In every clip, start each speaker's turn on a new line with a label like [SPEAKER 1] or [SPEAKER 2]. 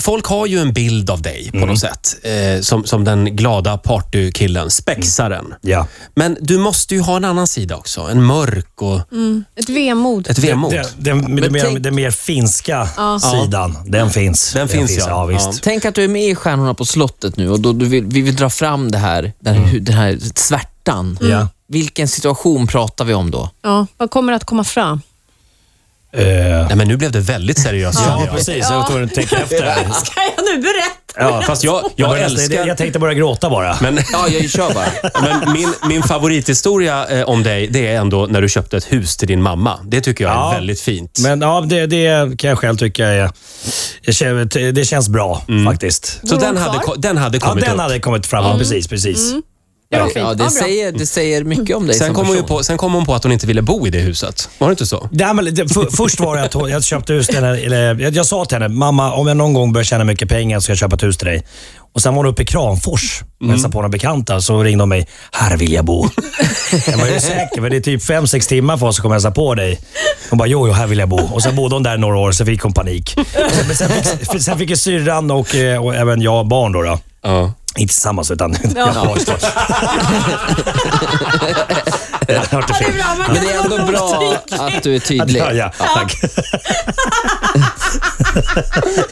[SPEAKER 1] folk har ju en bild av dig på
[SPEAKER 2] Mm.
[SPEAKER 1] något sätt. Eh, som, som den glada partykillen, spexaren.
[SPEAKER 2] Ja.
[SPEAKER 1] Men du måste ju ha en annan sida också. En mörk och
[SPEAKER 3] Ett vemod.
[SPEAKER 1] ett vemod.
[SPEAKER 2] Den, den, den, mer,
[SPEAKER 4] tänk-
[SPEAKER 2] den mer finska sidan, den finns.
[SPEAKER 1] Den finns, ja.
[SPEAKER 2] ja. visst.
[SPEAKER 4] Tänk att du är med i Stjärnorna på slottet nu och då du vill, vi vill dra fram det här, den här, den här svärtan. Mm.
[SPEAKER 2] Ja.
[SPEAKER 4] Vilken situation pratar vi om då?
[SPEAKER 3] Ja, vad kommer att komma fram?
[SPEAKER 2] Eh,
[SPEAKER 1] Nej, men nu blev det väldigt seriöst. känner
[SPEAKER 2] ja,
[SPEAKER 1] jag.
[SPEAKER 2] precis. Jag var tvungen att tänka efter. här.
[SPEAKER 3] Ska jag nu berätta?
[SPEAKER 2] Ja,
[SPEAKER 1] Fast jag,
[SPEAKER 2] jag,
[SPEAKER 1] jag
[SPEAKER 2] började nästan-
[SPEAKER 1] älskar...
[SPEAKER 2] jag tänkte börja gråta bara.
[SPEAKER 1] Men,
[SPEAKER 4] Ja, jag kör bara.
[SPEAKER 1] men min, min favorithistoria eh, om dig, det är ändå när du köpte ett hus till din mamma. Det tycker jag är
[SPEAKER 2] Ja.
[SPEAKER 1] väldigt fint.
[SPEAKER 2] Men ja, det, det kan jag själv tycka är... jag känner- Det känns bra faktiskt.
[SPEAKER 1] Så
[SPEAKER 3] Bor
[SPEAKER 1] den
[SPEAKER 3] hon
[SPEAKER 1] hade,
[SPEAKER 3] kvar?
[SPEAKER 1] ko- den hade
[SPEAKER 2] Ja,
[SPEAKER 1] Mm. kommit
[SPEAKER 2] den
[SPEAKER 1] upp. Mm.
[SPEAKER 2] hade kommit fram. Ja, precis, precis.
[SPEAKER 3] Ja,
[SPEAKER 4] Ja, det, säger, det säger mycket om dig
[SPEAKER 1] Sen
[SPEAKER 4] som
[SPEAKER 1] kom, hon ju
[SPEAKER 4] person.
[SPEAKER 1] på, sen kom hon på att hon inte ville bo i det huset. Var det inte så?
[SPEAKER 2] Nej, men det, för, först var det att hon, jag köpte hus till henne, eller jag, jag sa till henne, mamma om jag någon gång börjar tjäna mycket pengar så ska jag köpa ett hus till dig. Och Sen var hon uppe i Kramfors och hälsade på några bekanta, så ringde hon mig. Här vill jag bo. jag var ju säker, men det är typ fem sex timmar för oss att komma och hälsa på dig. Hon bara, jo, jo, här vill jag bo. Och Sen bodde hon där några år, sen fick hon panik. Sen, men sen fick, sen fick ju syrran och, eh, och även jag barn. Då, då.
[SPEAKER 1] Ja.
[SPEAKER 2] Inte tillsammans, utan... jag har barn. Jag har hört det
[SPEAKER 3] Det är
[SPEAKER 2] fel.
[SPEAKER 3] bra, man kan
[SPEAKER 4] Men det är
[SPEAKER 3] vara
[SPEAKER 4] ändå bra
[SPEAKER 3] otydlig.
[SPEAKER 4] att du är tydlig.
[SPEAKER 2] Ja, ja, tack.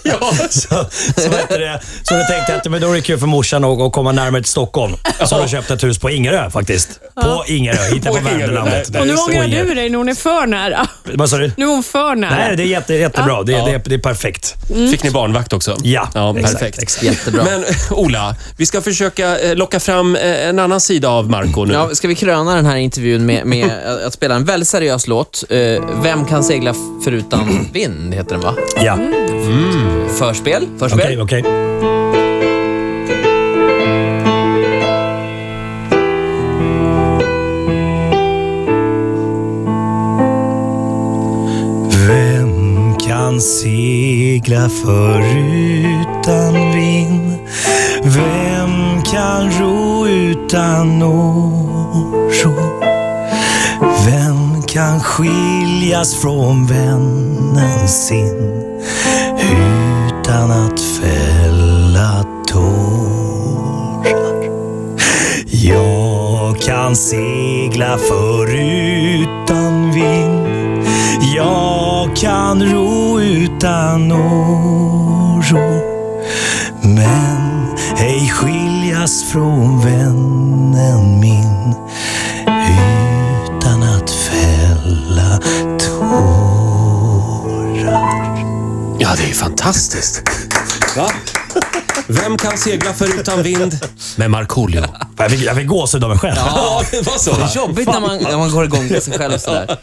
[SPEAKER 2] ja, så, så, vet du det, så då tänkte jag att men då är det kul för morsan att, att komma närmare till Stockholm. Så har jag köpt ett hus på Ingerö faktiskt. På Ingerö, inte på
[SPEAKER 1] På Ingerö,
[SPEAKER 2] Värdlandet.
[SPEAKER 1] nej,
[SPEAKER 3] Och nu
[SPEAKER 1] Just det,
[SPEAKER 3] ångrar
[SPEAKER 2] och
[SPEAKER 3] du
[SPEAKER 2] Inger.
[SPEAKER 3] dig när hon är för nära.
[SPEAKER 2] Vad sa du?
[SPEAKER 3] Nu är hon för nära.
[SPEAKER 2] Nej, det är jätte, jättebra. Det, det, är- det är perfekt.
[SPEAKER 1] Fick ni barnvakt också?
[SPEAKER 2] Mm. Ja, exakt,
[SPEAKER 1] perfekt.
[SPEAKER 2] exakt.
[SPEAKER 4] Jättebra.
[SPEAKER 1] Men eh, Ola, vi ska försöka eh, locka fram eh, en annan sida av Marco nu.
[SPEAKER 4] Ja, ska vi kröna den här intervjun med, med att spela en väldigt seriös låt? Eh, Vem kan segla f- förutan vind, heter den va?
[SPEAKER 2] Ja,
[SPEAKER 4] Förspel? Förspel?
[SPEAKER 2] okej, okej. Vem kan segla förutan vind? Vem kan ro utan oro? Vem kan skiljas från vännen sin utan att fälla tårar? Jag kan segla förutan vind jag kan ro utan oro Men ej skiljas från vännen min Utan att fälla tårar
[SPEAKER 1] Ja, det är ju fantastiskt. Va? Vem kan segla förutan vind? Med Markoolio.
[SPEAKER 2] Jag fick, jag fick gåshud av mig själv.
[SPEAKER 1] Ja, det var så.
[SPEAKER 4] Det är jobbigt när man, när man går igång på sig själv sådär.